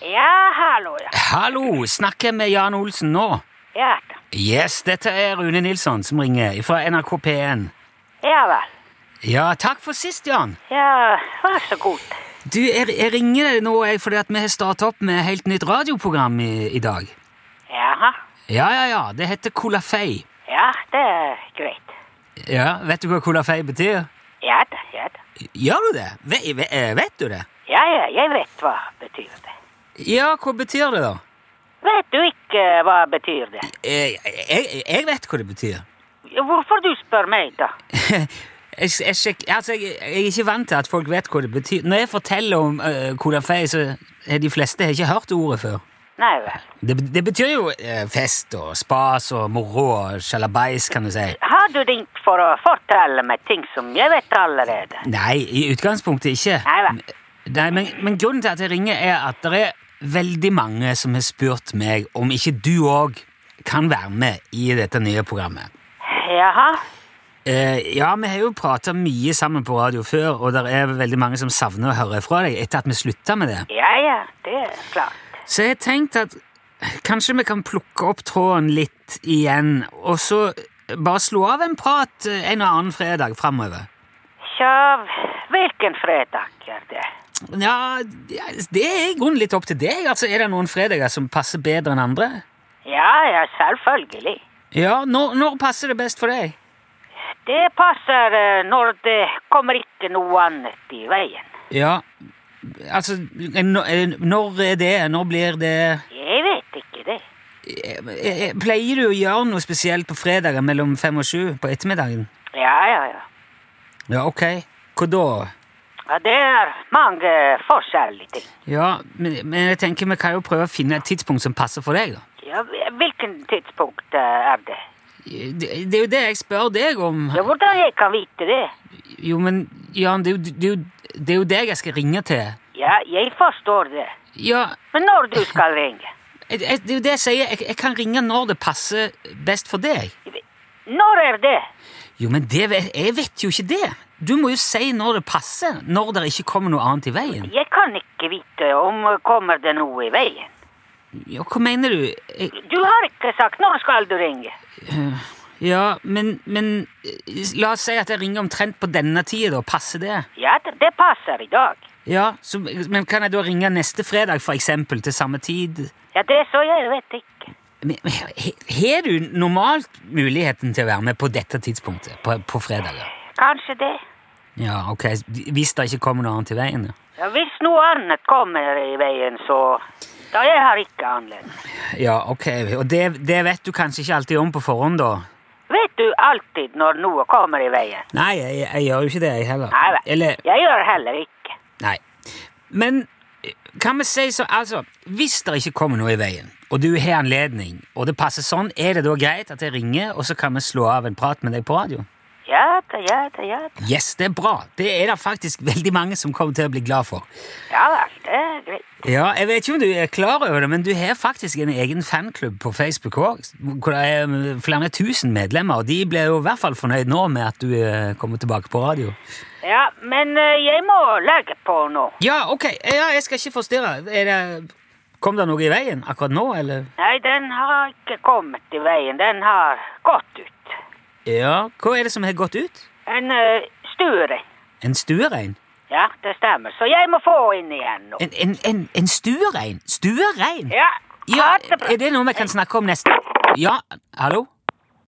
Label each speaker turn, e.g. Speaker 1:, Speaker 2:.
Speaker 1: Ja, hallo, ja.
Speaker 2: Hallo, snakker jeg med Jan Olsen nå?
Speaker 1: Ja da.
Speaker 2: Yes, dette er Rune Nilsson som ringer fra NRK P1.
Speaker 1: Ja vel.
Speaker 2: Ja, takk for sist, Jan.
Speaker 1: Ja, vær så god.
Speaker 2: Du, jeg, jeg ringer deg nå jeg, fordi at vi har startet opp med et helt nytt radioprogram i, i dag.
Speaker 1: Jaha.
Speaker 2: Ja, ja, ja, det heter Colafei.
Speaker 1: Ja, det er greit.
Speaker 2: Ja, vet du hva Colafei betyr?
Speaker 1: Ja da, ja da.
Speaker 2: Gjør du det? Ve, ve, eh, vet du det?
Speaker 1: Ja, ja, jeg vet hva betyr det.
Speaker 2: Ja, hva betyr det da?
Speaker 1: Vet du ikke hva betyr det?
Speaker 2: Eh, Jeg, jeg vet hva det betyr.
Speaker 1: Hvorfor du spør meg da?
Speaker 2: Jeg, jeg, sjek- altså, jeg, jeg er ikke vant til at folk vet hva det betyr. Når jeg forteller om uh, Colafei, så har de fleste ikke hørt ordet før.
Speaker 1: Nei vel.
Speaker 2: Det, det betyr jo eh, fest og spas og moro og sjalabais, kan du si.
Speaker 1: Har du ringt for å fortelle meg ting som jeg vet allerede?
Speaker 2: Nei, i utgangspunktet ikke.
Speaker 1: Nei vel.
Speaker 2: Nei, men, men grunnen til at jeg ringer, er at det er veldig mange som har spurt meg om ikke du òg kan være med i dette nye programmet.
Speaker 1: Jaha.
Speaker 2: Eh, ja, vi har jo prata mye sammen på radio før, og det er veldig mange som savner å høre fra deg etter at vi slutta med det.
Speaker 1: Ja, ja, det er klart.
Speaker 2: Så jeg tenkte at kanskje vi kan plukke opp tråden litt igjen, og så bare slå av en prat eh, en og annen fredag framover.
Speaker 1: Tja, hvilken fredag er det?
Speaker 2: Ja, det er i grunnen litt opp til deg. Altså, Er det noen fredager som passer bedre enn andre?
Speaker 1: Ja, ja, selvfølgelig.
Speaker 2: Ja, når, når passer det best for deg?
Speaker 1: Det passer eh, når det kommer ikke noe annet i veien.
Speaker 2: Ja, altså n- n- Når er det? Når blir det
Speaker 1: Jeg vet ikke det.
Speaker 2: Eh, eh, Pleier du å gjøre noe spesielt på fredager mellom fem og sju på ettermiddagen?
Speaker 1: Ja, ja, ja.
Speaker 2: Ja, ok. Hva da?
Speaker 1: ja det er mange forskjellige ting.
Speaker 2: Ja, men, men jeg tenker vi kan jo prøve å finne et tidspunkt som passer for deg, da.
Speaker 1: Ja, hvilken tidspunkt eh, er det?
Speaker 2: Det, det er jo det jeg spør deg om.
Speaker 1: Ja, hvordan jeg kan vite det?
Speaker 2: Jo, men Jan, det er jo, det er jo, det er jo deg jeg skal ringe til.
Speaker 1: Ja, jeg forstår det.
Speaker 2: Ja,
Speaker 1: Men når du skal ringe?
Speaker 2: jeg, jeg, det er jo det jeg sier. Jeg, jeg kan ringe når det passer best for deg.
Speaker 1: Når er det?
Speaker 2: Jo, men det, vet- jeg vet jo ikke det. Du må jo si når det passer, når det ikke kommer noe annet i veien.
Speaker 1: Jeg kan ikke vite om eh, kommer det noe i veien.
Speaker 2: Ja, hva mener du? Jeg,
Speaker 1: Du har ikke sagt når skal du ringe.
Speaker 2: Ja, men, men eh, la oss si at jeg ringer omtrent på denne tida, da. Passer det?
Speaker 1: Ja, det det passer i dag.
Speaker 2: Ja, så, Men kan jeg da ringe neste fredag, for eksempel, til samme tid?
Speaker 1: Ja, det så jeg vet ikke.
Speaker 2: Men, men, he- Har du normalt muligheten til å være med på dette tidspunktet? På, på fredager?
Speaker 1: Kanskje det.
Speaker 2: Ja, ok, Hvis det ikke kommer noe annet i veien? ja.
Speaker 1: Ja, hvis noe annet kommer i veien, så Da jeg har ikke anledning.
Speaker 2: Ja, ok, Og det, det vet du kanskje ikke alltid om på forhånd, da?
Speaker 1: Vet du alltid når noe kommer i veien?
Speaker 2: Nei, jeg, jeg gjør jo ikke det, jeg heller.
Speaker 1: Nei vel.
Speaker 2: Eller
Speaker 1: Jeg gjør heller ikke.
Speaker 2: Nei. Men eh, kan vi si så, altså, hvis det ikke kommer noe i veien, og du har anledning, og det passer sånn, er det da greit at jeg ringer, og så kan vi slå av en prat med deg på radio?
Speaker 1: Ja da, ja da, ja da.
Speaker 2: Yes, det er bra. Det er det faktisk veldig mange som kommer til å bli glad for.
Speaker 1: Ja vel, det er greit.
Speaker 2: Ja, Jeg vet ikke om du er klar over det, men du har faktisk en egen fanklubb på Facebook også, hvor det er eh, flere tusen medlemmer, og de blir jo i hvert fall fornøyd nå med at du eh, kommer tilbake på radio.
Speaker 1: Ja, men eh, jeg må legge på nå.
Speaker 2: Ja, ok. Ja, jeg skal ikke forstyrre. Er det, kom det noe i veien akkurat nå, eller?
Speaker 1: Nei, den har ikke kommet i veien. Den har gått ut.
Speaker 2: Ja, hva er det som har gått ut?
Speaker 1: En uh, sture.
Speaker 2: En stuerein?
Speaker 1: Ja, det stemmer. Så jeg må få inn igjen nå.
Speaker 2: En, en, en, en stuerein? Stuerein?
Speaker 1: Ja.
Speaker 2: Ja,
Speaker 1: ha det bra.
Speaker 2: er det noe vi kan snakke om neste Ja, hallo?